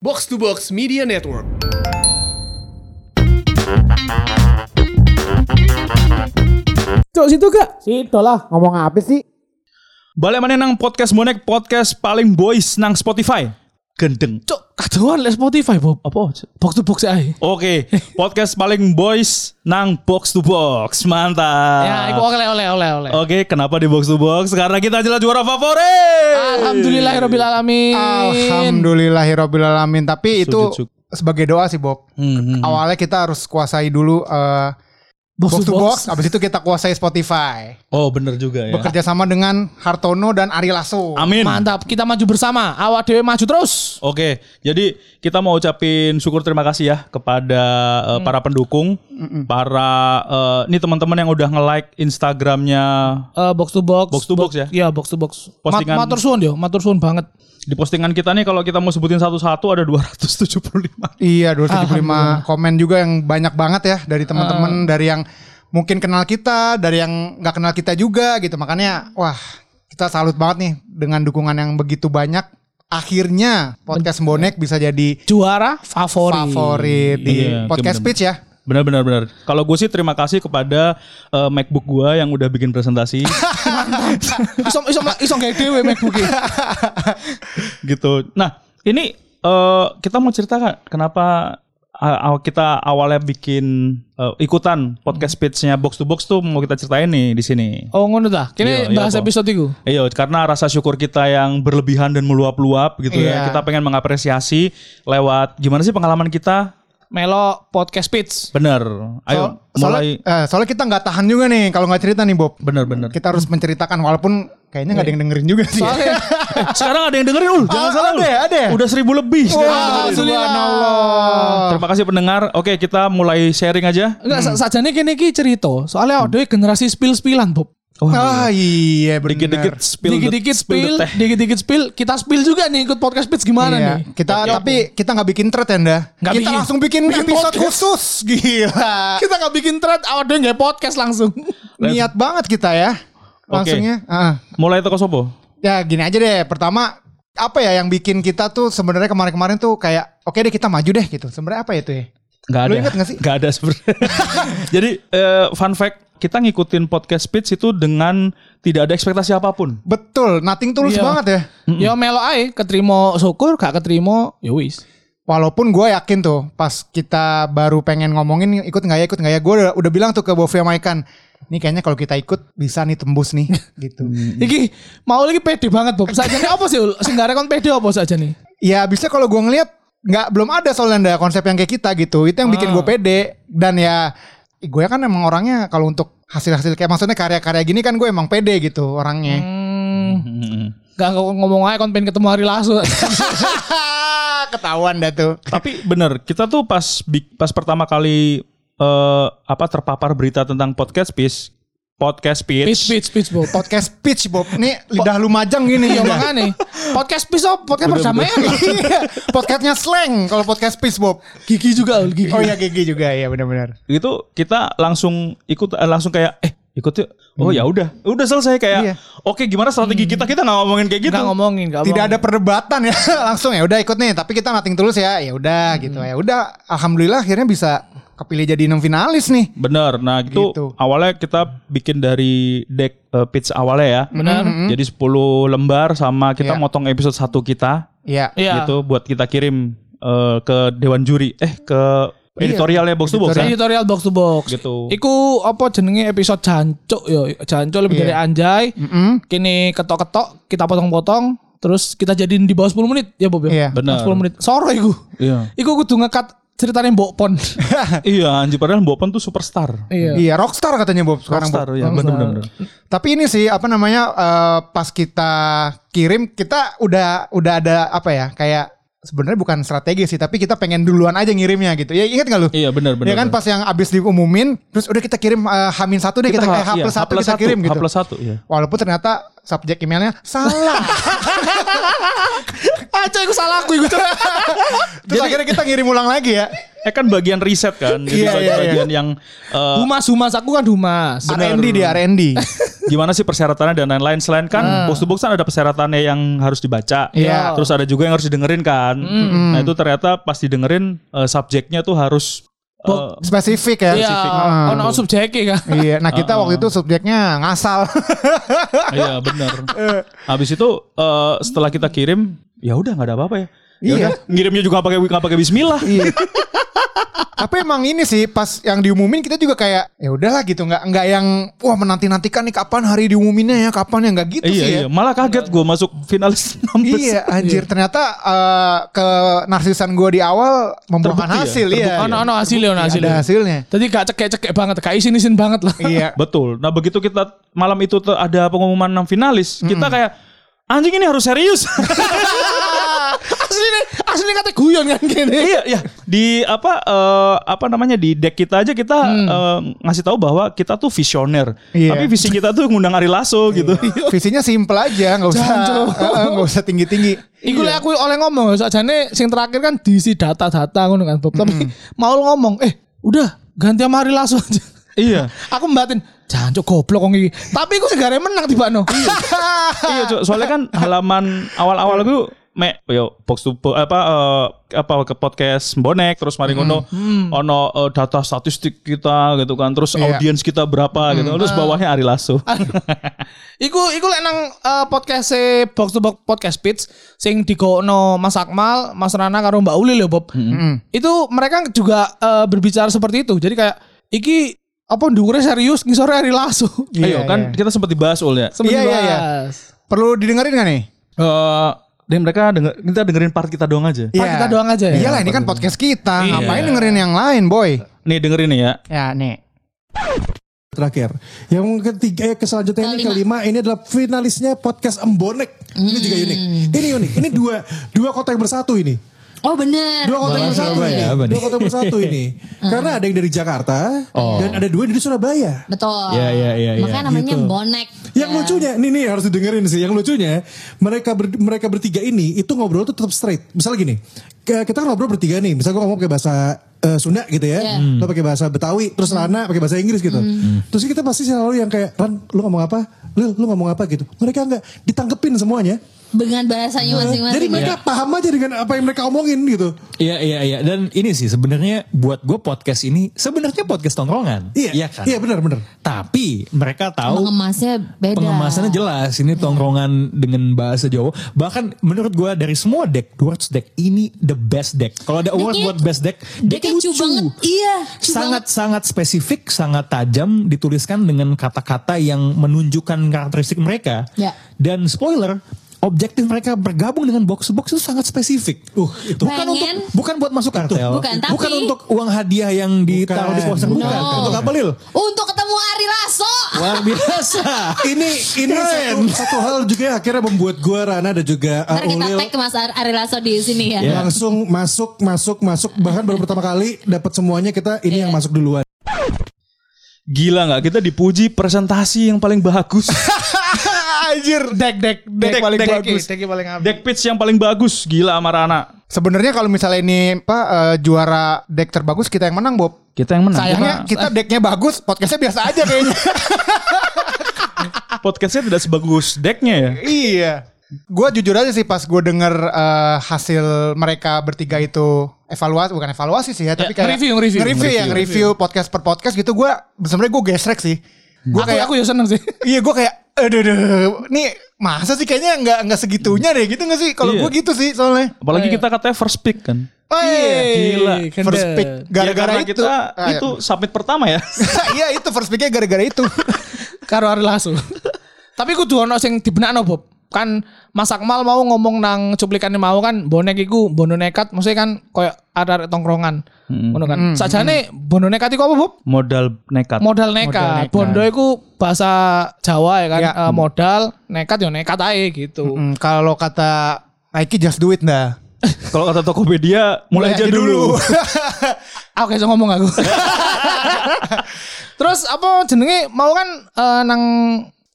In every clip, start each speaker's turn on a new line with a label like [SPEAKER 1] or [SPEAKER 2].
[SPEAKER 1] Box to Box Media Network.
[SPEAKER 2] Cok situ gak? Situ lah, ngomong apa sih?
[SPEAKER 3] Balik mana nang podcast bonek podcast paling boys nang Spotify. Gendeng.
[SPEAKER 4] Cuk, kadoan lek Spotify, Bob.
[SPEAKER 3] Apa?
[SPEAKER 4] Box to box ae.
[SPEAKER 3] Oke, podcast paling boys nang box to box. Mantap.
[SPEAKER 4] Ya, iku oleh oleh oleh oleh.
[SPEAKER 3] Ah, Oke, kenapa di box to box? Karena kita jelas juara favorit.
[SPEAKER 4] Alhamdulillahirabbil alamin.
[SPEAKER 5] Alhamdulillahirobbilalamin. Tapi itu
[SPEAKER 3] Sujud syukur.
[SPEAKER 5] sebagai doa sih Bob.
[SPEAKER 3] Hmm, hmm.
[SPEAKER 5] Awalnya kita harus kuasai dulu eh, box, to box. Habis itu kita kuasai Spotify.
[SPEAKER 3] Oh, bener juga ya.
[SPEAKER 5] Bekerja sama dengan Hartono dan Ari Lasso.
[SPEAKER 3] Amin.
[SPEAKER 4] Mantap, kita maju bersama. Awak dewe maju terus.
[SPEAKER 3] Oke, jadi kita mau ucapin syukur terima kasih ya kepada eh, para pendukung, para eh, nih teman-teman yang udah nge-like Instagramnya
[SPEAKER 4] Eh, box to box.
[SPEAKER 3] Box to box ya?
[SPEAKER 4] Iya, box to box. Mat-
[SPEAKER 3] Postingan-
[SPEAKER 4] matur suwun yo, matur suwun banget.
[SPEAKER 3] di postingan kita nih kalau kita mau sebutin satu-satu ada 275.
[SPEAKER 5] Iya, 275 komen juga yang banyak banget ya dari teman-teman dari yang mungkin kenal kita, dari yang nggak kenal kita juga gitu. Makanya wah, kita salut banget nih dengan dukungan yang begitu banyak. Akhirnya podcast Bonek bisa jadi
[SPEAKER 4] Juara favorit.
[SPEAKER 5] favorit di
[SPEAKER 3] Iya,
[SPEAKER 5] podcast
[SPEAKER 3] bener-bener.
[SPEAKER 5] pitch ya.
[SPEAKER 3] Benar benar benar. Kalau gue sih terima kasih kepada eh, MacBook gue yang udah bikin presentasi
[SPEAKER 4] Iso iso iso gawe dhewe MacBook e.
[SPEAKER 3] gitu. Nah, ini eh, kita mau ceritakan kenapa eh, aw- kita awalnya bikin eh, ikutan
[SPEAKER 5] Hmm.
[SPEAKER 3] podcast pitch-nya box to box tuh mau kita ceritain nih di sini.
[SPEAKER 4] Oh ngono ta.
[SPEAKER 3] Iya,
[SPEAKER 4] Kene
[SPEAKER 3] iya,
[SPEAKER 4] bahas
[SPEAKER 3] Bob.
[SPEAKER 4] episode iku.
[SPEAKER 3] Iya, karena rasa syukur kita yang berlebihan dan meluap-luap gitu ya.
[SPEAKER 5] Iya.
[SPEAKER 3] Kita pengen mengapresiasi lewat gimana sih pengalaman kita?
[SPEAKER 4] Melo podcast pitch.
[SPEAKER 3] Bener.
[SPEAKER 5] So-
[SPEAKER 3] Ayo
[SPEAKER 5] soalnya,
[SPEAKER 3] mulai.
[SPEAKER 5] eh, soalnya kita nggak tahan juga nih kalau nggak cerita nih Bob.
[SPEAKER 3] Bener-bener.
[SPEAKER 5] Kita harus menceritakan walaupun kayaknya nggak ada yang dengerin juga sih.
[SPEAKER 4] Soalnya
[SPEAKER 3] Eh, Sekarang ada yang dengerin, Ul. Jangan
[SPEAKER 5] Ah,
[SPEAKER 3] salah, Ul.
[SPEAKER 5] ada ya, ada ya?
[SPEAKER 3] Udah seribu lebih.
[SPEAKER 5] Wah,
[SPEAKER 3] sekarang.
[SPEAKER 5] subhanallah.
[SPEAKER 3] Terima kasih pendengar. Oke, kita mulai sharing aja.
[SPEAKER 4] enggak sa- sajane kene iki cerita. Soalnya awak dhewe generasi spill-spillan, Bob.
[SPEAKER 5] Ah iya benar.
[SPEAKER 3] Oh, Dikit-dikit spill the-
[SPEAKER 4] Dikit-dikit
[SPEAKER 3] spill the
[SPEAKER 4] spill,
[SPEAKER 3] teh.
[SPEAKER 4] dikit-dikit spill. Kita spill juga nih ikut podcast pitch gimana
[SPEAKER 5] Iya.
[SPEAKER 4] nih?
[SPEAKER 5] Kita tapi kita nggak bikin thread ya, Nda.
[SPEAKER 4] Nggak
[SPEAKER 5] kita
[SPEAKER 4] bikin.
[SPEAKER 5] langsung bikin,
[SPEAKER 4] Bikin
[SPEAKER 5] episode
[SPEAKER 4] podcast.
[SPEAKER 5] khusus. Gila.
[SPEAKER 4] kita nggak bikin thread audio nggak podcast langsung
[SPEAKER 5] Niat banget kita ya. Langsungnya. Ah.
[SPEAKER 3] Mulai toko sopo.
[SPEAKER 5] Ya gini aja deh. Pertama apa ya yang bikin kita tuh sebenarnya kemarin-kemarin tuh kayak oke deh kita maju deh gitu. Sebenarnya apa ya itu ya?
[SPEAKER 3] Gak ada.
[SPEAKER 5] Lu inget nggak sih?
[SPEAKER 3] Nggak ada sebenarnya. Jadi eh, fun fact, kita ngikutin podcast speech itu dengan tidak ada ekspektasi apapun.
[SPEAKER 5] Betul, nothing tulus
[SPEAKER 4] Iya.
[SPEAKER 5] banget ya.
[SPEAKER 4] ya melo ae keterima syukur gak keterima ya wis
[SPEAKER 5] Walaupun gue yakin tuh pas kita baru pengen ngomongin ikut nggak ya ikut nggak ya gue udah, udah bilang tuh ke Bovi sama Ikan ini kayaknya kalau kita ikut bisa nih tembus nih gitu.
[SPEAKER 3] Mm.
[SPEAKER 4] iki mau lagi pede banget Bob saja nih apa sih senggara kon pede apa saja nih
[SPEAKER 5] Ya bisa kalau gue ngeliat nggak belum ada soalnya ada konsep yang kayak kita gitu itu yang bikin gue pede dan ya gue kan emang orangnya kalau untuk hasil-hasil kayak maksudnya karya-karya gini kan gue emang pede gitu orangnya.
[SPEAKER 4] gak kok ngomong aja kon pengen ketemu hari langsung
[SPEAKER 5] Ketahuan dah tuh.
[SPEAKER 3] Tapi bener, kita tuh pas bi- pas pertama kali eh, apa terpapar berita tentang podcast speech, podcast
[SPEAKER 4] pitch
[SPEAKER 3] speech.
[SPEAKER 4] pitch pitch Bob
[SPEAKER 5] Podcast pitch Bob nih lidah lumajang gini
[SPEAKER 4] ya
[SPEAKER 3] Iya.
[SPEAKER 5] ya makanya.
[SPEAKER 4] makanya podcast pitch Bob podcast perdamaian
[SPEAKER 5] Iya, podcastnya slang kalau podcast pitch Bob.
[SPEAKER 4] gigi juga Ul, gigi
[SPEAKER 5] Oh ya gigi juga ya benar-benar.
[SPEAKER 3] Gitu kita langsung ikut eh, langsung kayak eh ikut yuk. Oh ya udah, udah selesai kayak.
[SPEAKER 5] Hmm. Iya. Hmm.
[SPEAKER 3] Oke, gimana strategi kita? Kita nggak ngomongin kayak gitu.
[SPEAKER 4] Nggak ngomongin nggak
[SPEAKER 5] tidak ada
[SPEAKER 4] ngomongin.
[SPEAKER 5] perdebatan ya langsung ya udah ikut nih tapi kita nating tulus ya ya udah gitu ya udah alhamdulillah akhirnya bisa kepilih jadi enam finalis nih
[SPEAKER 3] Bener. Nah, itu
[SPEAKER 5] Gitu.
[SPEAKER 3] awalnya kita bikin dari deck eh, pitch awalnya ya.
[SPEAKER 4] Benar.
[SPEAKER 3] Jadi 10 lembar sama
[SPEAKER 5] Mm-hmm. Iya.
[SPEAKER 3] kita motong episode 1 kita
[SPEAKER 5] ya
[SPEAKER 4] Iya.
[SPEAKER 3] gitu buat kita kirim eh, ke dewan juri. Eh ke
[SPEAKER 5] Iya.
[SPEAKER 3] editorialnya box to box ya.
[SPEAKER 4] editorial box to box
[SPEAKER 3] Gitu.
[SPEAKER 4] Iku apa jenenge episode jancuk yo, jancuk
[SPEAKER 3] Iya.
[SPEAKER 4] lebih dari anjay.
[SPEAKER 5] Mm-mm.
[SPEAKER 4] Kini ketok-ketok, kita potong-potong, terus kita jadiin di bawah 10 menit ya Bob ya.
[SPEAKER 5] Iya.
[SPEAKER 3] Benar.
[SPEAKER 4] 10 menit. Sore iku.
[SPEAKER 3] Iya.
[SPEAKER 4] Iku kudu ngekat ceritanya Mbok Pon.
[SPEAKER 3] Iya, anjir padahal Bopan tuh superstar.
[SPEAKER 4] iya.
[SPEAKER 5] iya rockstar katanya Bob sekarang
[SPEAKER 3] Rockstar
[SPEAKER 5] Bob.
[SPEAKER 3] ya, benar-benar.
[SPEAKER 5] tapi ini sih apa namanya eh, pas kita kirim kita udah udah ada apa ya kayak sebenarnya bukan strategi sih tapi kita pengen duluan aja ngirimnya gitu ya ingat nggak lu
[SPEAKER 3] Iya, benar benar.
[SPEAKER 5] Ya kan pas yang abis diumumin terus udah kita kirim eh, hamin satu deh kita, eh, H plus satu kita kirim gitu.
[SPEAKER 3] iya, plus satu, iya.
[SPEAKER 5] Walaupun ternyata subjek emailnya salah.
[SPEAKER 4] Ah, cok, iku salah aku iku. Cok.
[SPEAKER 5] Terus akhirnya kita ngirim ulang lagi ya.
[SPEAKER 3] eh kan bagian riset kan. Jadi
[SPEAKER 5] Iya, iya, iya.
[SPEAKER 3] bagian yang eh,
[SPEAKER 4] Humas, humas. Aku kan humas.
[SPEAKER 5] R&D di R&D.
[SPEAKER 3] gimana sih persyaratannya dan lain-lain selain kan box to box kan ada persyaratannya yang harus dibaca
[SPEAKER 5] Hmm. Iya. Hmm.
[SPEAKER 3] terus ada juga yang harus didengerin kan nah itu ternyata pas didengerin eh, subjeknya tuh harus eh,
[SPEAKER 5] Spesifik ya.
[SPEAKER 4] Iya,
[SPEAKER 5] Ah.
[SPEAKER 4] on on subjek ya kan.
[SPEAKER 5] Iya, nah kita waktu itu subjeknya ngasal.
[SPEAKER 3] iya benar habis itu eh, setelah kita kirim ya udah nggak ada apa-apa ya Ya
[SPEAKER 5] Iya.
[SPEAKER 3] udah, ngirimnya juga nggak pakai nggak pakai Bismillah
[SPEAKER 5] Iya. Tapi emang ini sih pas yang diumumin kita juga kayak ya udahlah gitu nggak nggak yang wah menanti nantikan nih kapan hari diumuminnya ya kapan ya nggak gitu
[SPEAKER 3] iya
[SPEAKER 5] sih ya.
[SPEAKER 3] iya malah kaget gue masuk finalis 16
[SPEAKER 5] Iya anjir ternyata eh, ke narsisan gua di awal membuahkan
[SPEAKER 3] Terbukti ya,
[SPEAKER 5] hasil
[SPEAKER 3] terbukti
[SPEAKER 5] iya.
[SPEAKER 4] Ono ono hasilnya, ono
[SPEAKER 5] Ada
[SPEAKER 4] hasilnya.
[SPEAKER 5] hasilnya.
[SPEAKER 4] Tadi gak cekek-cekek banget, gak isin-isin banget lah.
[SPEAKER 5] Iya.
[SPEAKER 3] betul nah begitu kita malam itu tuh ada pengumuman 6 finalis kita
[SPEAKER 5] Hmm.
[SPEAKER 3] kayak anjing ini harus serius
[SPEAKER 4] asli nih, asli kata guyon kan gini.
[SPEAKER 3] iya iya di apa eh, apa namanya di deck kita aja kita eh, ngasih tahu bahwa kita tuh visioner
[SPEAKER 5] Iya.
[SPEAKER 3] tapi visi kita tuh ngundang Ari Lasso gitu
[SPEAKER 5] Visinya simple aja nggak usah
[SPEAKER 4] Jangan, Cok.
[SPEAKER 5] eh, eh, nggak usah tinggi tinggi.
[SPEAKER 4] Iku
[SPEAKER 3] Iya.
[SPEAKER 4] lek aku oleh ngomong, sajane sing terakhir kan diisi data-data ngono kan, Bob. Tapi mau lu ngomong, eh udah ganti sama Ari Lasso aja.
[SPEAKER 3] iya
[SPEAKER 4] aku mbatin, jancuk goblok wong iki. Tapi aku segare menang tibano.
[SPEAKER 3] iya Cok. soalnya kan halaman awal-awal gue me yo box to box apa eh, apa ke podcast bonek terus mari ngono ono eh, data statistik kita gitu kan terus
[SPEAKER 5] Iya.
[SPEAKER 3] audiens kita berapa gitu terus bawahnya Ari Lasso
[SPEAKER 4] iku iku lek nang eh, podcast e box to box podcast pitch sing digono Mas Akmal, Mas Rana karo Mbak Uli lho, Bob. Itu mereka juga eh, berbicara seperti itu. Jadi kayak iki apa ndukure serius ngisore Ari Lasso.
[SPEAKER 3] ayo kan kita sempat dibahas oleh
[SPEAKER 5] Iya, iya, iya.
[SPEAKER 4] Sembas.
[SPEAKER 5] Perlu didengerin nggak nih?
[SPEAKER 3] Eh dan mereka denger, kita dengerin part kita doang aja
[SPEAKER 4] Pak, kita doang aja ya?
[SPEAKER 5] Iya.
[SPEAKER 3] Iya.
[SPEAKER 5] Iyalah ini kan podcast kita. Ngapain dengerin yang lain, boy?
[SPEAKER 3] nih dengerin nih ya
[SPEAKER 5] Ya nih.
[SPEAKER 2] terakhir. Yang ketiga, eh, ke selanjutnya ini kelima ini adalah finalisnya podcast Embonek. Ini juga unik. Ini unik. Ini dua dua kota yang bersatu ini.
[SPEAKER 1] Oh bener.
[SPEAKER 2] Dua kota yang bersatu ini.
[SPEAKER 6] Surabaya, ya, apa nih?
[SPEAKER 2] Dua kota yang bersatu ini. Karena ada yang dari Jakarta
[SPEAKER 6] Oh.
[SPEAKER 2] dan ada dua yang dari Surabaya.
[SPEAKER 1] Betul.
[SPEAKER 6] Iya, iya, iya, iya.
[SPEAKER 1] Makanya namanya
[SPEAKER 2] Gitu.
[SPEAKER 1] bonek.
[SPEAKER 2] Yang lucunya, nih nih harus didengerin sih. Yang lucunya mereka ber- mereka bertiga ini itu ngobrol tuh tetap straight. Misal gini, ke- kita kan ngobrol bertiga nih. Misal gue ngomong pakai bahasa eh, Sunda gitu ya,
[SPEAKER 1] Iya.
[SPEAKER 2] lo pakai bahasa Betawi, terus Lana
[SPEAKER 1] Hmm.
[SPEAKER 2] pakai bahasa Inggris gitu. Terus kita pasti selalu yang kayak Ran, lu ngomong apa? Lil, lu ngomong apa gitu. Mereka nggak ditanggepin semuanya.
[SPEAKER 1] Dengan bahasanya masing-masing. Iya.
[SPEAKER 2] Jadi mereka paham aja dengan apa yang mereka omongin gitu.
[SPEAKER 6] Iya iya iya dan ini sih sebenarnya buat gue podcast ini sebenarnya podcast tongkrongan.
[SPEAKER 2] Iya,
[SPEAKER 6] kan?
[SPEAKER 2] iya benar benar.
[SPEAKER 6] Tapi mereka tahu
[SPEAKER 1] Pengemasnya beda.
[SPEAKER 6] pengemasannya jelas ini tongkrongan dengan bahasa Jawa. Bahkan menurut gue dari semua deck Dwarfs deck ini the best deck. Kalau ada award
[SPEAKER 1] Decknya-
[SPEAKER 6] buat best deck,
[SPEAKER 1] Decknya
[SPEAKER 6] decknya
[SPEAKER 1] cu banget. Iya, cu
[SPEAKER 6] sangat sangat spesifik, sangat tajam dituliskan dengan kata-kata yang menunjukkan karakteristik mereka.
[SPEAKER 1] Ya.
[SPEAKER 6] Dan spoiler, objektif mereka bergabung dengan box to box itu sangat spesifik. Uh, itu. Bukan untuk
[SPEAKER 1] Pengen-
[SPEAKER 6] bukan buat masuk kartel.
[SPEAKER 1] Bukan, tapi-
[SPEAKER 6] untuk uang hadiah yang ditaruh di poster bukan.
[SPEAKER 1] No.
[SPEAKER 6] Untuk apa Lil?
[SPEAKER 1] Untuk ketemu Ari Lasso.
[SPEAKER 6] Luar biasa.
[SPEAKER 2] Ini ini satu, satu hal juga yang akhirnya membuat gua Rana dan juga
[SPEAKER 1] Ntar
[SPEAKER 2] uh,
[SPEAKER 1] kita
[SPEAKER 2] Ulil
[SPEAKER 1] tag Mas Ar- Ari Lasso di sini ya.
[SPEAKER 2] langsung masuk masuk masuk bahkan baru pertama kali dapat semuanya kita ini yang masuk duluan
[SPEAKER 3] Gila nggak kita dipuji presentasi yang paling bagus,
[SPEAKER 5] Anjir.
[SPEAKER 4] Dek dek dek
[SPEAKER 3] Dek,
[SPEAKER 4] paling
[SPEAKER 3] dek
[SPEAKER 4] bagus.
[SPEAKER 3] bagus.
[SPEAKER 4] Dek paling abis.
[SPEAKER 3] deck pitch yang paling bagus, gila sama Rana.
[SPEAKER 5] Sebenarnya kalau misalnya ini apa eh, juara deck terbagus kita yang menang, Bob.
[SPEAKER 3] Kita yang
[SPEAKER 4] Nah,
[SPEAKER 3] menang.
[SPEAKER 5] Sayangnya kita decknya bagus, podcastnya biasa aja kayaknya.
[SPEAKER 3] Karena podcastnya tidak sebagus decknya ya.
[SPEAKER 5] iya. Gue jujur aja sih pas gue denger eh, hasil mereka bertiga itu evaluasi bukan evaluasi sih ya, tapi kayak
[SPEAKER 4] nge-review, nge-review.
[SPEAKER 5] nge-review ya, nge-review podcast per podcast gitu gue sebenarnya gue gesrek sih. Gue
[SPEAKER 4] Aku
[SPEAKER 5] kayak
[SPEAKER 4] aku ya seneng sih.
[SPEAKER 5] iya gue kayak aduh aduh nih masa sih kayaknya nggak nggak segitunya deh gitu nggak sih kalau
[SPEAKER 3] Iya.
[SPEAKER 5] gue gitu sih soalnya.
[SPEAKER 3] Apalagi kita katanya first pick kan.
[SPEAKER 5] Oh, iya.
[SPEAKER 3] Gila.
[SPEAKER 5] First pick gara-gara
[SPEAKER 3] Ya, karena
[SPEAKER 5] itu.
[SPEAKER 3] kita
[SPEAKER 5] Ah,
[SPEAKER 3] itu submit pertama ya.
[SPEAKER 5] iya itu first picknya gara-gara itu.
[SPEAKER 4] karo Ari Lasso. Tapi kudu ono sing dibenakno Bob. Kan Mas Akmal mau ngomong nang cuplikan mau kan bonek iku bondo nekat maksudnya kan koyo arek tongkrongan. Ngono kan. Sajane bondo nekat iku apa Bob?
[SPEAKER 3] Modal nekat.
[SPEAKER 4] Modal nekat. Bondo iku bahasa Jawa ya kan
[SPEAKER 5] Ya.
[SPEAKER 4] Eh, modal nekat yo nekat ae gitu.
[SPEAKER 5] Hmm, kalau kata Nike just do it nah. dah.
[SPEAKER 3] Kalau kata Tokopedia mulai aja dulu.
[SPEAKER 4] Aku kayak Ah, ngomong aku. Terus apa jenenge mau kan eh, nang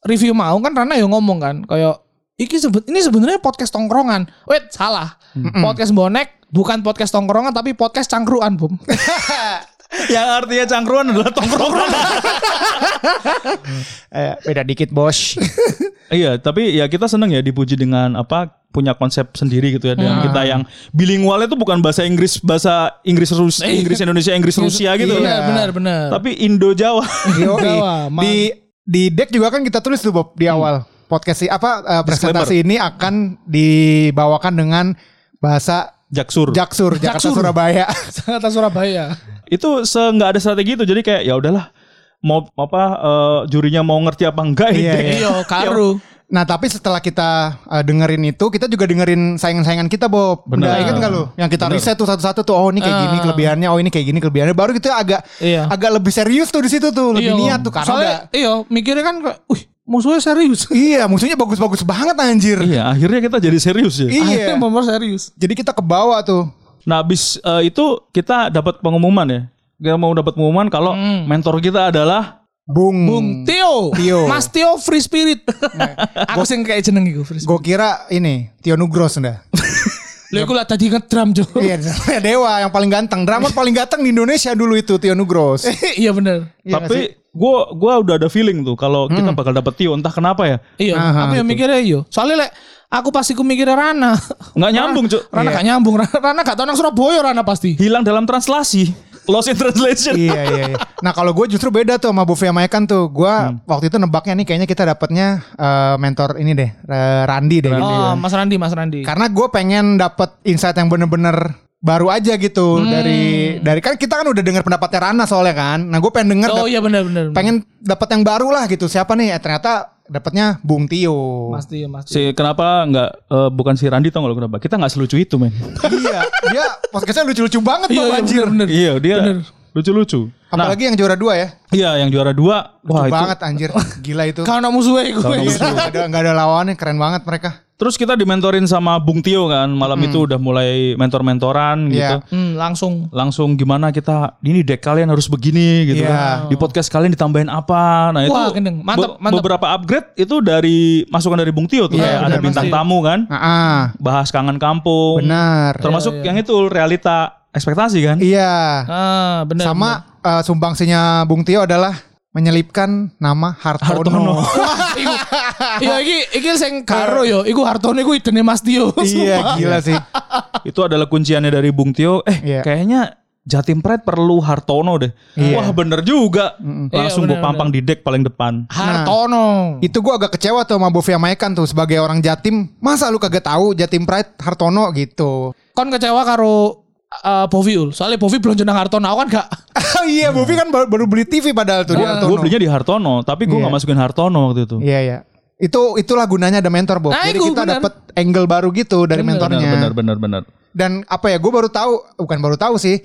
[SPEAKER 4] review mau kan Rana yo ya ngomong kan koyo Iki sebe- ini sebenarnya podcast tongkrongan. Wait, salah. Podcast bonek bukan podcast tongkrongan tapi podcast cangkruan, Bom.
[SPEAKER 3] Yang artinya cangkruan adalah tongkrongan.
[SPEAKER 5] Eh, beda dikit bos.
[SPEAKER 3] iya, tapi ya kita seneng ya dipuji dengan apa punya konsep sendiri gitu ya dengan kita yang bilingual itu bukan bahasa Inggris bahasa Inggris Rus Inggris Indonesia Inggris
[SPEAKER 5] Iya,
[SPEAKER 3] Rusia gitu.
[SPEAKER 4] Benar, Iya, benar, benar.
[SPEAKER 3] Tapi Indo Jawa.
[SPEAKER 5] Yoi.
[SPEAKER 4] Jawa, man.
[SPEAKER 5] di di deck juga kan kita tulis tuh Bob
[SPEAKER 3] Hmm.
[SPEAKER 5] di awal podcast i- apa eh, presentasi ini akan dibawakan dengan bahasa
[SPEAKER 3] Jaksur.
[SPEAKER 5] Jaksur Jakarta Surabaya.
[SPEAKER 4] Sangat Surabaya.
[SPEAKER 3] itu se nggak ada strategi itu jadi kayak ya udahlah mau apa eh, jurinya mau ngerti apa enggak ini
[SPEAKER 5] Iya,
[SPEAKER 3] deh.
[SPEAKER 5] iya.
[SPEAKER 4] Iya, karu.
[SPEAKER 5] Nah tapi setelah kita eh, dengerin itu kita juga dengerin saingan-saingan kita Bob.
[SPEAKER 3] Benar.
[SPEAKER 5] Udah ingat nggak lu? Yang kita riset tuh satu-satu tuh oh ini kayak gini
[SPEAKER 4] Ah.
[SPEAKER 5] kelebihannya, oh ini kayak gini kelebihannya. Baru kita agak
[SPEAKER 4] Iya.
[SPEAKER 5] agak lebih serius tuh di situ tuh lebih
[SPEAKER 4] Iya,
[SPEAKER 5] niat tuh karena
[SPEAKER 4] Soalnya,
[SPEAKER 5] udah-
[SPEAKER 4] iya, mikirnya kan kayak, wih, musuhnya serius.
[SPEAKER 5] iya musuhnya bagus-bagus banget anjir.
[SPEAKER 3] iya akhirnya kita jadi serius ya
[SPEAKER 4] Akhirnya
[SPEAKER 5] Iya.
[SPEAKER 4] Bom serius.
[SPEAKER 5] Jadi kita ke bawah tuh.
[SPEAKER 3] nah abis eh, itu kita dapat pengumuman ya kita mau dapat pengumuman kalau
[SPEAKER 5] Hmm.
[SPEAKER 3] mentor kita adalah
[SPEAKER 5] Bung.
[SPEAKER 4] Bung Tio.
[SPEAKER 5] Hmm. Tio. Nah,
[SPEAKER 4] Mas Tio Free Spirit. Aku sing kayak jeneng iku Free Spirit.
[SPEAKER 5] Gue kira ini Tio Nugro sudah.
[SPEAKER 4] Lha iku lah tadi ngedrum, Jo.
[SPEAKER 5] Iya, namanya Dewa yang paling ganteng. Drummer paling ganteng di Indonesia dulu itu Tio Nugros.
[SPEAKER 4] Iya bener.
[SPEAKER 5] Iya nggak sih? Hmm.
[SPEAKER 3] tapi gue gua udah ada feeling tuh kalau kita bakal dapat Tio entah kenapa ya
[SPEAKER 4] Iya,
[SPEAKER 5] Aha,
[SPEAKER 4] aku yang mikirnya iya. Soalnya lek aku pasti ku mikirnya Rana.
[SPEAKER 3] nggak nyambung cuk
[SPEAKER 4] Rana gak nyambung, Rana, Rana gak tau nang Surabaya Rana pasti.
[SPEAKER 3] hilang dalam translasi lost in translation
[SPEAKER 5] iya, iya, iya. Nah kalau gue justru beda tuh sama Buffy sama Ekan tuh. Gue
[SPEAKER 4] Hmm.
[SPEAKER 5] waktu itu nebaknya nih kayaknya kita dapetnya eh, mentor ini deh. eh, Randi deh. gitu.
[SPEAKER 3] Ah,
[SPEAKER 4] Oh, Mas Randi, Mas Randi.
[SPEAKER 5] Karena gue pengen dapet insight yang bener-bener baru aja gitu
[SPEAKER 4] Hmm.
[SPEAKER 5] dari dari kan kita kan udah dengar pendapatnya Rana soalnya kan. Nah gue pengen denger
[SPEAKER 4] Oh
[SPEAKER 5] dap-
[SPEAKER 4] iya bener bener.
[SPEAKER 5] pengen dapat yang baru lah gitu. Siapa nih? Eh, ternyata dapetnya Bung Tio.
[SPEAKER 4] Mas Tio, Mas Tio.
[SPEAKER 3] si kenapa nggak eh, bukan si Randi tau nggak lo kenapa kita nggak selucu itu men
[SPEAKER 5] iya, dia podcastnya lucu-lucu banget
[SPEAKER 4] Iya,
[SPEAKER 5] tuh
[SPEAKER 4] iya
[SPEAKER 5] anjir.
[SPEAKER 4] bener, bener.
[SPEAKER 3] iya dia
[SPEAKER 4] Bener.
[SPEAKER 3] lucu-lucu nah
[SPEAKER 5] Apalagi yang juara dua ya.
[SPEAKER 3] iya yang juara dua wah
[SPEAKER 4] Ah,
[SPEAKER 5] Lucu
[SPEAKER 3] itu
[SPEAKER 5] banget anjir. Gila itu.
[SPEAKER 4] Kau nak musuhnya iku.
[SPEAKER 5] Iya, nggak ada nggak ada lawannya keren banget mereka.
[SPEAKER 3] Terus kita dimentorin sama Bung Tio kan malam itu udah mulai mentor-mentoran gitu.
[SPEAKER 5] Iya.
[SPEAKER 4] Hmm, langsung.
[SPEAKER 3] Langsung gimana kita ini deck kalian harus begini gitu.
[SPEAKER 5] Iya.
[SPEAKER 3] Di podcast kalian ditambahin apa. Nah itu
[SPEAKER 4] Wah, gendeng. Mantap, mantap.
[SPEAKER 3] beberapa upgrade itu dari masukan dari Bung Tio tuh
[SPEAKER 5] Iya,
[SPEAKER 3] kayak ada
[SPEAKER 5] benar,
[SPEAKER 3] bintang
[SPEAKER 4] pasti.
[SPEAKER 3] tamu kan.
[SPEAKER 5] Ah, ah,
[SPEAKER 3] Bahas kangen kampung.
[SPEAKER 5] benar.
[SPEAKER 3] Termasuk yang itu realita ekspektasi kan.
[SPEAKER 5] Iya.
[SPEAKER 4] Ah, bener.
[SPEAKER 5] Sama eh, sumbangsinya Bung Tio adalah menyelipkan nama Hartono.
[SPEAKER 3] Hartono.
[SPEAKER 4] bener. Iku- Iya, iki iki sing karo yo. Iku Hartono iku idene Mas Tio.
[SPEAKER 5] iya, gila sih.
[SPEAKER 3] itu adalah kunciannya dari Bung Tio. Eh
[SPEAKER 5] Iya.
[SPEAKER 3] kayaknya Jatim Pride perlu Hartono deh. Wah bener juga. Langsung
[SPEAKER 4] Iya,
[SPEAKER 3] gue pampang di deck paling depan.
[SPEAKER 4] Hartono.
[SPEAKER 5] Itu gua agak kecewa tuh sama Bovi sama Ekan tuh sebagai orang Jatim. Masa lu kagak tahu Jatim Pride Hartono gitu.
[SPEAKER 4] kon kecewa karo uh, Bovi ul soalnya Bovi belum jeneng Hartono aku kan gak
[SPEAKER 5] Oh iya, Bovi kan baru, baru beli TV padahal tuh di
[SPEAKER 3] Gue
[SPEAKER 5] Hartono.
[SPEAKER 3] Ah, belinya di Hartono, tapi gue
[SPEAKER 5] Iya.
[SPEAKER 3] nggak masukin Hartono waktu itu.
[SPEAKER 5] Iya, iya. Itu itulah gunanya ada mentor, Bob.
[SPEAKER 4] Nah,
[SPEAKER 5] Jadi
[SPEAKER 4] itu,
[SPEAKER 5] kita
[SPEAKER 4] benar.
[SPEAKER 5] dapet angle baru gitu dari mentornya.
[SPEAKER 3] Ah, Benar, benar, benar, benar.
[SPEAKER 5] dan apa ya gue baru tahu bukan baru tahu sih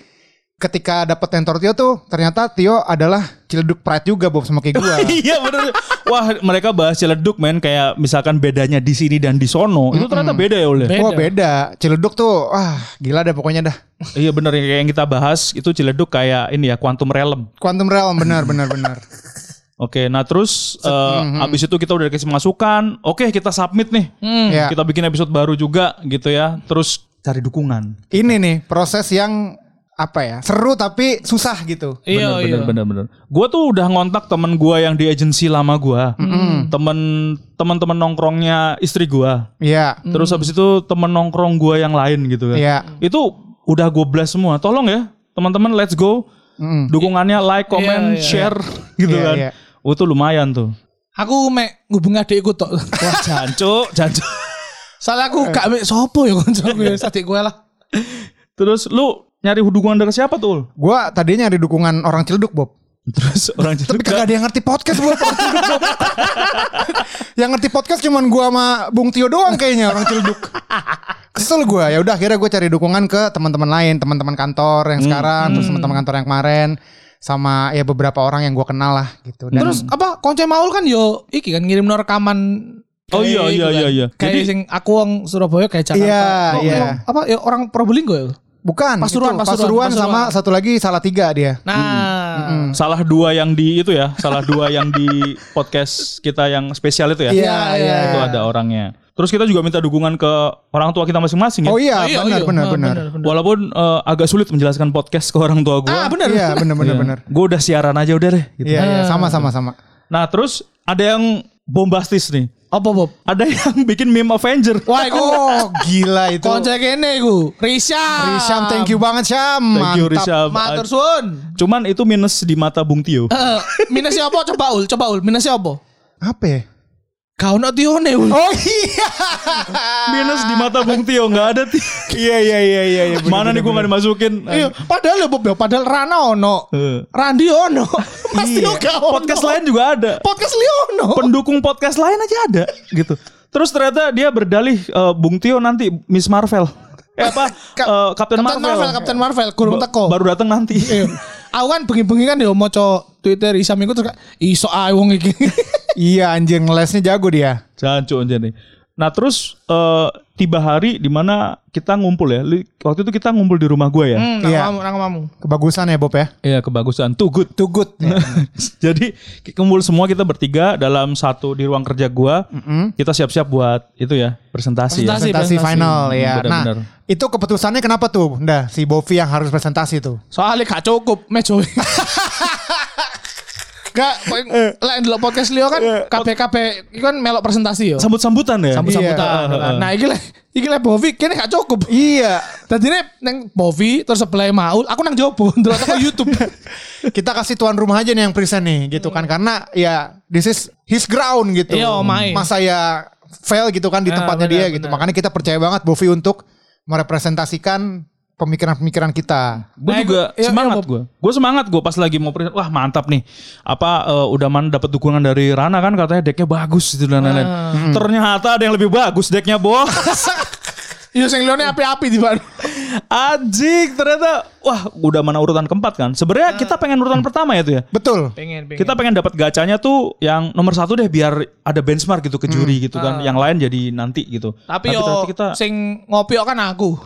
[SPEAKER 5] ketika dapet mentor Tio tuh ternyata Tio adalah Ciledug Pride juga Bob sama kayak gue
[SPEAKER 3] Iya benar. Wah mereka bahas Ciledug men kayak misalkan bedanya di sini dan di sono itu ternyata beda ya oleh.
[SPEAKER 5] Wah beda Ciledug tuh wah gila deh pokoknya dah
[SPEAKER 3] iya benar ya kayak yang kita bahas itu Ciledug kayak ini ya Quantum Realm.
[SPEAKER 5] Quantum Realm benar benar benar
[SPEAKER 3] Oke, nah terus eh,
[SPEAKER 4] Mhm.
[SPEAKER 3] abis itu kita udah kasih masukan. Oke kita submit nih.
[SPEAKER 4] Hmm.
[SPEAKER 5] ya
[SPEAKER 3] Kita bikin episode baru juga gitu ya. Terus cari dukungan.
[SPEAKER 5] ini nih proses yang apa ya seru tapi susah gitu
[SPEAKER 4] iya
[SPEAKER 3] bener, bener, bener, bener. Gue tuh udah ngontak temen gue yang di agensi lama gue.
[SPEAKER 4] Hmm.
[SPEAKER 3] Temen teman-teman nongkrongnya istri gue.
[SPEAKER 5] Iya
[SPEAKER 4] Hmm.
[SPEAKER 3] Terus habis itu temen nongkrong gue yang lain gitu kan.
[SPEAKER 5] Iya.
[SPEAKER 3] Itu udah gue blast semua. Tolong ya teman-teman let's go. Dukungannya like,
[SPEAKER 4] Hmm.
[SPEAKER 3] comment,
[SPEAKER 4] Iya, iya.
[SPEAKER 3] share gitu
[SPEAKER 5] Iya,
[SPEAKER 3] kan.
[SPEAKER 5] iya.
[SPEAKER 3] Oh itu lumayan tuh.
[SPEAKER 4] aku mek ngubung adikku tok
[SPEAKER 3] Wah jancuk, jancuk.
[SPEAKER 4] soalnya aku gak mek sopo ya konco gue sadik gue lah
[SPEAKER 3] Terus lu nyari dukungan dari siapa tuh? Ul?
[SPEAKER 5] gue tadinya nyari dukungan orang Ciledug Bob
[SPEAKER 3] Terus orang jadi
[SPEAKER 5] tapi kagak ada yang ngerti podcast Bob orang Ciledug Bob yang ngerti podcast cuman gue sama Bung Tio doang kayaknya orang Ciledug kesel gue ya udah akhirnya gue cari dukungan ke teman-teman lain teman-teman kantor yang sekarang terus teman-teman kantor yang kemarin sama ya beberapa orang yang gue kenal lah gitu dan
[SPEAKER 3] Hmm.
[SPEAKER 4] terus apa konco Maul kan yo iki kan ngirim rekaman
[SPEAKER 3] Oh iya,
[SPEAKER 4] kayak
[SPEAKER 3] iya,
[SPEAKER 4] itu kan.
[SPEAKER 3] iya, iya.
[SPEAKER 4] kayak
[SPEAKER 3] Jadi-
[SPEAKER 4] sing aku wong Surabaya kayak Jakarta
[SPEAKER 5] Iya,
[SPEAKER 4] Oh,
[SPEAKER 5] iya.
[SPEAKER 4] orang- apa ya orang Probolinggo ya
[SPEAKER 5] bukan
[SPEAKER 4] Pasuruan, Pasuruan,
[SPEAKER 5] itu, Pasuruan sama
[SPEAKER 4] Pasuruan.
[SPEAKER 5] satu lagi salah tiga dia
[SPEAKER 4] nah
[SPEAKER 5] hmm,
[SPEAKER 3] salah dua yang di itu ya, salah dua yang di podcast kita yang spesial itu ya.
[SPEAKER 5] Iya, iya,
[SPEAKER 3] Itu
[SPEAKER 5] iya.
[SPEAKER 3] ada orangnya. Terus kita juga minta dukungan ke orang tua kita masing-masing ya.
[SPEAKER 5] Oh iya,
[SPEAKER 4] Oh iya, oh
[SPEAKER 5] benar,
[SPEAKER 4] iya.
[SPEAKER 5] benar,
[SPEAKER 4] Ah,
[SPEAKER 5] benar.
[SPEAKER 3] Walaupun eh, agak sulit menjelaskan podcast ke orang tua
[SPEAKER 5] Ah,
[SPEAKER 3] gua.
[SPEAKER 5] benar. Iya, benar, benar, benar.
[SPEAKER 3] Gue udah siaran aja udah deh. Gitu.
[SPEAKER 5] Iya, iya, sama, sama, sama.
[SPEAKER 3] Nah terus ada yang bombastis nih.
[SPEAKER 4] Apa Bob?
[SPEAKER 3] Ada yang bikin meme Avenger.
[SPEAKER 4] Wah, itu
[SPEAKER 5] Oh, gila itu.
[SPEAKER 4] kocak ini ku. Risha.
[SPEAKER 5] Risham, thank you banget Syam.
[SPEAKER 3] Thank
[SPEAKER 5] Mantap.
[SPEAKER 3] you, Rizal.
[SPEAKER 4] Matur suwun.
[SPEAKER 3] Cuman itu minus di mata Bung Tio.
[SPEAKER 4] Eh, minusnya apa? Coba ul, coba ul. Minusnya apa?
[SPEAKER 5] Apa ya?
[SPEAKER 4] Kau nak tione ul.
[SPEAKER 5] Oh iya.
[SPEAKER 3] Minus di mata Bung Tio nggak ada. Tio.
[SPEAKER 5] iya, iya, iya, iya, iya. benar,
[SPEAKER 3] Mana nih gue
[SPEAKER 5] benar,
[SPEAKER 3] nggak dimasukin.
[SPEAKER 4] Iya, padahal ya Bob ya, padahal Rana ono.
[SPEAKER 3] Eh.
[SPEAKER 4] Randi ono. Pasti oh
[SPEAKER 3] Iya.
[SPEAKER 4] gak ono.
[SPEAKER 3] Podcast lain juga ada.
[SPEAKER 4] Podcast li ono.
[SPEAKER 3] Pendukung podcast lain aja ada gitu. Terus ternyata dia berdalih eh, Bung Tio nanti Miss Marvel. Eh apa?
[SPEAKER 4] Kap-
[SPEAKER 3] eh, Captain, Marvel.
[SPEAKER 4] Captain Marvel, kurung teko.
[SPEAKER 3] Baru datang nanti.
[SPEAKER 4] Iya. Aku kan bengi-bengi kan ya moco Twitter Isam iku terus kayak, iso ae wong iki.
[SPEAKER 5] benar. Iya, anjir ngelesnya jago dia.
[SPEAKER 3] Jancu aja nih. Nah terus eh, tiba hari dimana kita ngumpul ya. Li- Waktu itu kita ngumpul di rumah gue ya.
[SPEAKER 4] Hmm,
[SPEAKER 5] Iya.
[SPEAKER 4] nang mamu, nang mamu.
[SPEAKER 5] Kebagusan ya Iya, Bob ya.
[SPEAKER 3] Iya kebagusan. Too good.
[SPEAKER 5] Too good.
[SPEAKER 3] Jadi ki- kumpul semua kita bertiga dalam satu di ruang kerja gua. Kita siap-siap buat itu ya presentasi. ya.
[SPEAKER 4] Presentasi.
[SPEAKER 5] Presentasi final
[SPEAKER 4] Hmm,
[SPEAKER 5] ya. Nah,
[SPEAKER 3] Benar-benar.
[SPEAKER 5] itu keputusannya kenapa tuh? Nah, si Bovi yang harus presentasi tuh.
[SPEAKER 4] Soalnya gak cukup mejo. Gak, lek ndelok podcast Leo kan KPKP iku kan melok presentasi yo.
[SPEAKER 3] Sambut-sambutan ya.
[SPEAKER 4] Sambut-sambutan.
[SPEAKER 3] Iya.
[SPEAKER 4] Nah, Nah, iki lek iki lek Bovi kene gak cukup.
[SPEAKER 5] Iya.
[SPEAKER 4] Dadine nang Bovi terus sebelah Maul, aku nang jopo ndelok teko YouTube.
[SPEAKER 5] Kita kasih tuan rumah aja nih yang present nih gitu kan karena ya this is his ground gitu.
[SPEAKER 4] Hmm. Iya, omae.
[SPEAKER 5] Masa ya fail gitu kan di
[SPEAKER 4] Ah,
[SPEAKER 5] tempatnya
[SPEAKER 4] benar,
[SPEAKER 5] dia gitu.
[SPEAKER 4] benar.
[SPEAKER 5] Makanya kita percaya banget Bovi untuk merepresentasikan pemikiran-pemikiran kita.
[SPEAKER 3] Gue
[SPEAKER 4] Nah,
[SPEAKER 3] juga
[SPEAKER 4] gua- iya,
[SPEAKER 3] semangat
[SPEAKER 4] iya, Bob.
[SPEAKER 3] gue. Gue semangat gue pas lagi mau present. Wah mantap nih. Apa eh, udah mana dapat dukungan dari Rana kan katanya decknya bagus itu dan lain-lain.
[SPEAKER 4] Ah.
[SPEAKER 3] Hmm. Ternyata ada yang lebih bagus decknya bos.
[SPEAKER 4] Yo sing Leone api-api di Bang.
[SPEAKER 3] Anjing ternyata wah udah mana urutan keempat kan. Sebenarnya kita pengen urutan pertama ya tuh ya.
[SPEAKER 5] Betul.
[SPEAKER 4] Pengen, Ah. pengen.
[SPEAKER 3] Kita pengen dapat gacanya tuh yang nomor satu deh biar ada benchmark gitu ke juri gitu kan. Yang lain jadi nanti gitu.
[SPEAKER 4] Hmm. Ah. Tapi yo
[SPEAKER 3] ternyata kita
[SPEAKER 4] sing ngopi yo kan aku.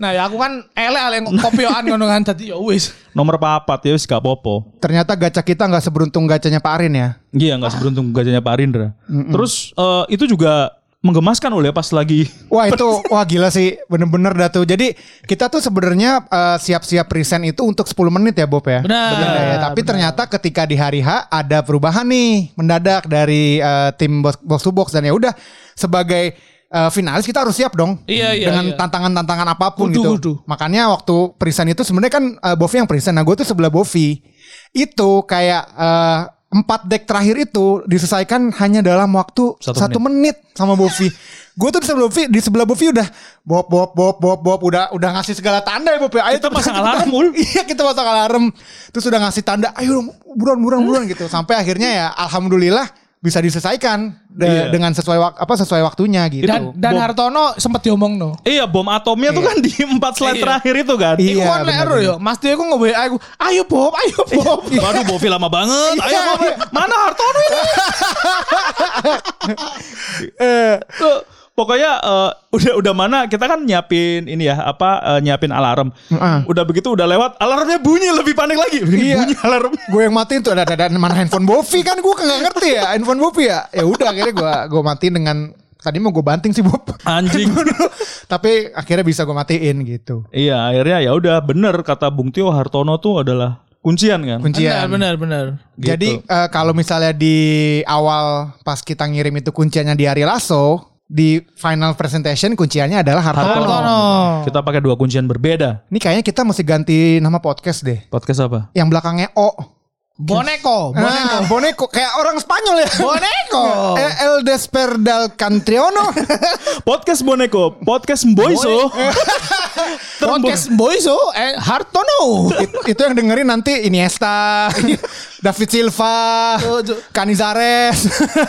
[SPEAKER 4] Nah, ya aku kan elek-elek kopioan ngono kan dadi yo wis.
[SPEAKER 3] nomor papat ya wis gak popo.
[SPEAKER 5] Ternyata gacha kita nggak seberuntung gacanya Pak Arin ya.
[SPEAKER 3] Iya nggak seberuntung gajahnya Pak Rindra. Terus eh, itu juga menggemaskan oleh pas lagi
[SPEAKER 5] Wah itu wah gila sih bener-bener dah tuh. Jadi kita tuh sebenarnya eh, siap-siap present itu untuk 10 menit ya Bob ya.
[SPEAKER 4] Benar.
[SPEAKER 5] ya. Tapi ternyata ketika di hari H ada perubahan nih mendadak dari eh, tim box, box to box dan ya udah sebagai eh, finalis kita harus siap dong.
[SPEAKER 4] Iya, iya,
[SPEAKER 5] Dengan
[SPEAKER 4] iya.
[SPEAKER 5] tantangan-tantangan apapun
[SPEAKER 4] Kudu,
[SPEAKER 5] gitu.
[SPEAKER 4] kudu.
[SPEAKER 5] Makanya waktu present itu sebenarnya kan eh, Bovi yang present. Nah gue tuh sebelah Bovi itu kayak eh, empat deck terakhir itu diselesaikan hanya dalam waktu
[SPEAKER 3] Satu
[SPEAKER 5] satu, menit. sama Bovi. gue tuh di sebelah Bovi, di sebelah Bovi udah bob bob bob bob bob udah udah ngasih segala tanda ya Bovi. Ayo
[SPEAKER 3] Kita
[SPEAKER 5] cepetan,
[SPEAKER 3] pasang
[SPEAKER 5] cepetan.
[SPEAKER 3] alarm, Ul.
[SPEAKER 5] Iya kita pasang alarm. Terus udah ngasih tanda, ayo buruan buruan buruan gitu. Sampai akhirnya ya alhamdulillah bisa diselesaikan de-
[SPEAKER 3] Iya.
[SPEAKER 5] dengan sesuai wak- apa sesuai waktunya gitu.
[SPEAKER 4] Dan dan
[SPEAKER 3] Bom.
[SPEAKER 4] Hartono sempat diomong no.
[SPEAKER 3] Iya bom atomnya tuh kan di empat slide
[SPEAKER 4] Iya.
[SPEAKER 3] terakhir itu kan.
[SPEAKER 5] Iya,
[SPEAKER 4] Iku kan lek
[SPEAKER 5] benar,
[SPEAKER 4] ero yo. Mas Tio iku nge-WA aku, "Ayo Bob, ayo Bob."
[SPEAKER 3] Waduh Bovi lama banget. Ayo
[SPEAKER 5] Iya,
[SPEAKER 3] Bovi.
[SPEAKER 5] iya.
[SPEAKER 3] Mana Hartono ini?
[SPEAKER 5] Eh.
[SPEAKER 3] Tuh, Pokoknya eh, udah udah mana kita kan nyiapin ini ya apa eh, nyiapin alarm.
[SPEAKER 5] Heeh.
[SPEAKER 3] Udah begitu udah lewat alarmnya bunyi lebih panik lagi.
[SPEAKER 5] Iya.
[SPEAKER 3] Bunyi alarm.
[SPEAKER 5] gue yang matiin tuh ada ada ada- mana handphone Bovi kan gue nggak ngerti ya handphone Bovi ya ya udah akhirnya gue gue matiin dengan tadi mau gue banting sih Bob
[SPEAKER 3] Anjing.
[SPEAKER 5] tapi akhirnya bisa gue matiin gitu
[SPEAKER 3] iya akhirnya ya udah bener kata Bung Tio Hartono tuh adalah kuncian kan.
[SPEAKER 5] kuncian
[SPEAKER 4] benar, benar.
[SPEAKER 3] Gitu.
[SPEAKER 5] jadi eh, kalau misalnya di awal pas kita ngirim itu kunciannya di Ari Lasso di final presentation kunciannya adalah Hartono.
[SPEAKER 4] Hartono.
[SPEAKER 3] Kita pakai dua kuncian berbeda.
[SPEAKER 5] Ini kayaknya kita mesti ganti nama podcast deh.
[SPEAKER 3] Podcast apa?
[SPEAKER 5] Yang belakangnya O.
[SPEAKER 4] Boneko, boneko.
[SPEAKER 5] Boneko, boneko kayak orang Spanyol ya.
[SPEAKER 4] Boneko.
[SPEAKER 5] Eh, El Desperdal Cantriono.
[SPEAKER 3] Podcast Boneko, podcast Mboiso.
[SPEAKER 4] Podcast Boyso eh Hartono.
[SPEAKER 5] It- itu yang dengerin nanti Iniesta, David Silva,
[SPEAKER 4] Oh,
[SPEAKER 5] Canizares.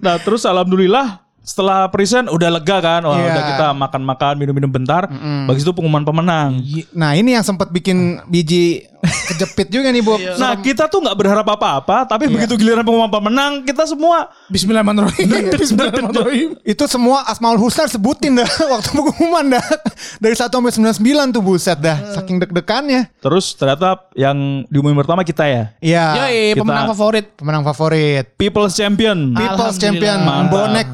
[SPEAKER 3] Nah terus alhamdulillah setelah present udah lega kan, wah
[SPEAKER 5] Iya.
[SPEAKER 3] udah kita makan-makan minum-minum bentar, bagi itu pengumuman pemenang.
[SPEAKER 4] Iya.
[SPEAKER 5] nah ini yang sempat bikin biji kejepit juga nih
[SPEAKER 4] Iya.
[SPEAKER 5] Bob.
[SPEAKER 3] Nah kita tuh nggak berharap apa-apa, tapi begitu giliran pengumuman pemenang kita semua
[SPEAKER 4] Bismillahirrahmanirrahim. Bismillahirrahmanirrahim.
[SPEAKER 5] Itu semua Asmaul Husna sebutin dah waktu pengumuman dah. Dari 1 sampai 99 tuh buset dah.
[SPEAKER 4] Hmm.
[SPEAKER 5] Saking deg-degannya.
[SPEAKER 3] terus ternyata yang diumumin pertama kita ya,
[SPEAKER 5] Iya.
[SPEAKER 4] Yoi,
[SPEAKER 3] kita-
[SPEAKER 4] pemenang favorit.
[SPEAKER 5] Pemenang favorit.
[SPEAKER 3] People's Champion.
[SPEAKER 4] Ah, Alhamdulillah.
[SPEAKER 5] People's Champion
[SPEAKER 3] Mantap.
[SPEAKER 5] Bonek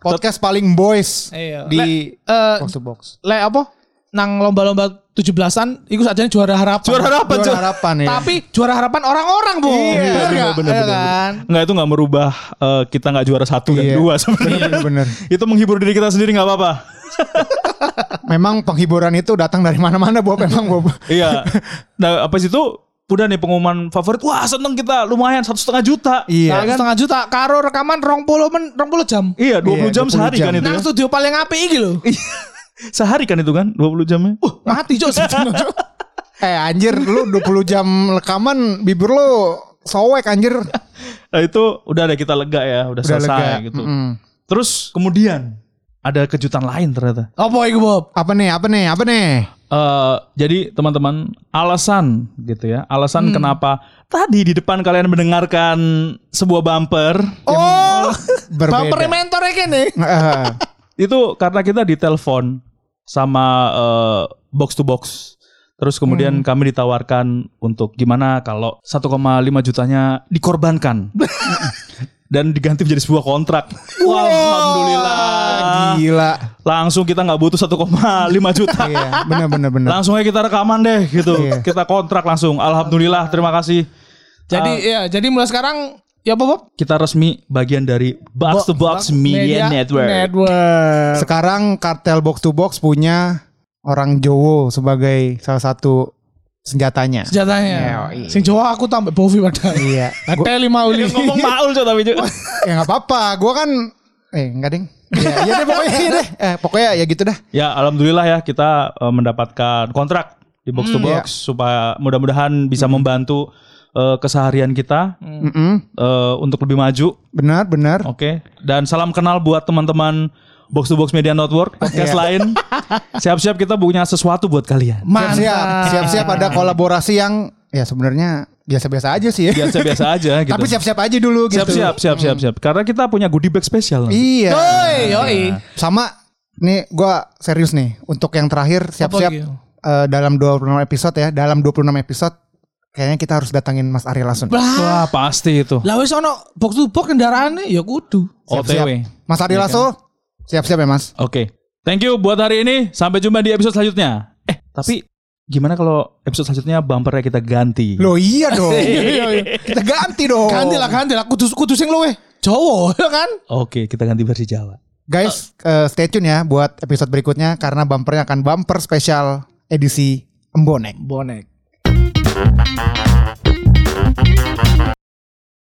[SPEAKER 5] podcast paling boys
[SPEAKER 4] Iya.
[SPEAKER 5] di
[SPEAKER 4] Le- eh,
[SPEAKER 5] box to box.
[SPEAKER 4] le apa nang lomba-lomba 17-an iku sajane juara harapan.
[SPEAKER 3] Juara harapan,
[SPEAKER 5] Juara
[SPEAKER 3] cuy.
[SPEAKER 5] harapan ya.
[SPEAKER 4] Tapi juara harapan orang-orang, Bu. Bener
[SPEAKER 5] Iya, bener,
[SPEAKER 4] nggak?
[SPEAKER 5] bener,
[SPEAKER 4] Iya
[SPEAKER 5] bener.
[SPEAKER 4] kan?
[SPEAKER 3] Nggak itu nggak merubah eh, kita nggak juara satu dan
[SPEAKER 5] Iya.
[SPEAKER 3] dua sebenarnya.
[SPEAKER 5] Bener, bener.
[SPEAKER 3] itu menghibur diri kita sendiri nggak apa-apa.
[SPEAKER 5] Memang penghiburan itu datang dari mana-mana Bob emang Bob.
[SPEAKER 3] iya. Nah, apa itu udah nih pengumuman favorit. Wah seneng kita lumayan satu setengah juta.
[SPEAKER 5] Iya.
[SPEAKER 4] Satu setengah juta karo rekaman 20 men 20 jam.
[SPEAKER 3] Iya 20
[SPEAKER 5] Iya,
[SPEAKER 3] jam
[SPEAKER 5] 20
[SPEAKER 3] sehari
[SPEAKER 5] jam.
[SPEAKER 3] kan itu.
[SPEAKER 4] Nang
[SPEAKER 3] ya.
[SPEAKER 4] studio paling apik iki lho.
[SPEAKER 3] sehari kan itu kan 20 jamnya.
[SPEAKER 4] Mati, Cuk. studio, Cuk.
[SPEAKER 5] eh anjir lu 20 jam rekaman bibir lu sowek anjir.
[SPEAKER 3] Nah, itu udah ada kita lega ya, udah,
[SPEAKER 5] Udah
[SPEAKER 3] selesai
[SPEAKER 5] lega.
[SPEAKER 3] gitu.
[SPEAKER 5] Mm-mm.
[SPEAKER 3] Terus kemudian ada kejutan lain ternyata.
[SPEAKER 4] Apa iku, Bob?
[SPEAKER 5] Apa nih? Apa nih? Apa nih?
[SPEAKER 3] Eh jadi teman-teman alasan gitu ya, alasan kenapa tadi di depan kalian mendengarkan sebuah bumper ya,
[SPEAKER 4] Oh,
[SPEAKER 5] Berbeda.
[SPEAKER 4] bumper mentor iki nih.
[SPEAKER 5] Eh,
[SPEAKER 3] itu karena kita ditelepon sama eh, box to box. Terus kemudian kami ditawarkan untuk gimana kalau 1,5 jutanya dikorbankan dan diganti menjadi sebuah kontrak. Wah, alhamdulillah.
[SPEAKER 5] Gila.
[SPEAKER 3] Langsung kita nggak butuh 1,5 juta.
[SPEAKER 5] Iya, benar benar benar.
[SPEAKER 3] Langsung aja kita rekaman deh gitu.
[SPEAKER 5] Iya.
[SPEAKER 3] Kita kontrak langsung. Alhamdulillah, terima kasih. Eh,
[SPEAKER 4] Jadi ya, jadi mulai sekarang ya apa, Bob?
[SPEAKER 3] Kita resmi bagian dari Box to Box Media, Network.
[SPEAKER 4] Network.
[SPEAKER 5] Sekarang kartel box to box punya orang Jowo sebagai salah satu senjatanya.
[SPEAKER 4] Senjatanya. Sing Jawa aku tambah Bovi padahal.
[SPEAKER 5] Iya.
[SPEAKER 4] Ada lima uli.
[SPEAKER 3] Ngomong Paul coba tapi Cuk.
[SPEAKER 5] ya nggak apa-apa. Gua kan eh enggak ding. Ya, ya deh pokoknya ya deh. Eh, pokoknya ya gitu dah.
[SPEAKER 3] Ya alhamdulillah ya kita eh, mendapatkan kontrak di box to box supaya mudah-mudahan bisa membantu eh, keseharian kita
[SPEAKER 5] Mm-mm.
[SPEAKER 3] eh, untuk lebih maju.
[SPEAKER 5] Benar, benar.
[SPEAKER 3] Oke. Dan salam kenal buat teman-teman Box to Box Media Network podcast lain. Siap-siap kita punya sesuatu buat kalian.
[SPEAKER 5] Siap-siap, siap-siap ada kolaborasi yang ya sebenarnya biasa-biasa aja sih ya.
[SPEAKER 3] Biasa-biasa aja gitu.
[SPEAKER 5] Tapi siap-siap aja dulu gitu.
[SPEAKER 3] Siap-siap, siap-siap, siap. Karena kita punya goodie bag spesial. nanti.
[SPEAKER 5] Iya.
[SPEAKER 4] Yoi, yoi.
[SPEAKER 5] Sama nih gua serius nih untuk yang terakhir siap-siap
[SPEAKER 4] gitu?
[SPEAKER 5] eh, dalam 26 episode ya, dalam 26 episode kayaknya kita harus datangin Mas Ari langsung.
[SPEAKER 4] Lah,
[SPEAKER 3] Wah, Ah, pasti itu.
[SPEAKER 4] lah wis ono box to box kendaraannya ya kudu.
[SPEAKER 3] OTW.
[SPEAKER 5] Mas Ari
[SPEAKER 3] Iya kan?
[SPEAKER 5] Lasso, siap-siap ya Mas.
[SPEAKER 3] Oke. Thank you buat hari ini. Sampai jumpa di episode selanjutnya. Eh, tapi gimana kalau episode selanjutnya bumpernya kita ganti?
[SPEAKER 5] Loh iya dong. Kita ganti dong.
[SPEAKER 4] Ganti lah, ganti lah kudu kudu sing luwe. Jawa ya kan?
[SPEAKER 3] Oke, kita ganti versi Jawa.
[SPEAKER 5] Guys, eh, stay tune ya buat episode berikutnya karena bumpernya akan bumper spesial edisi Embonek.
[SPEAKER 4] Bonek.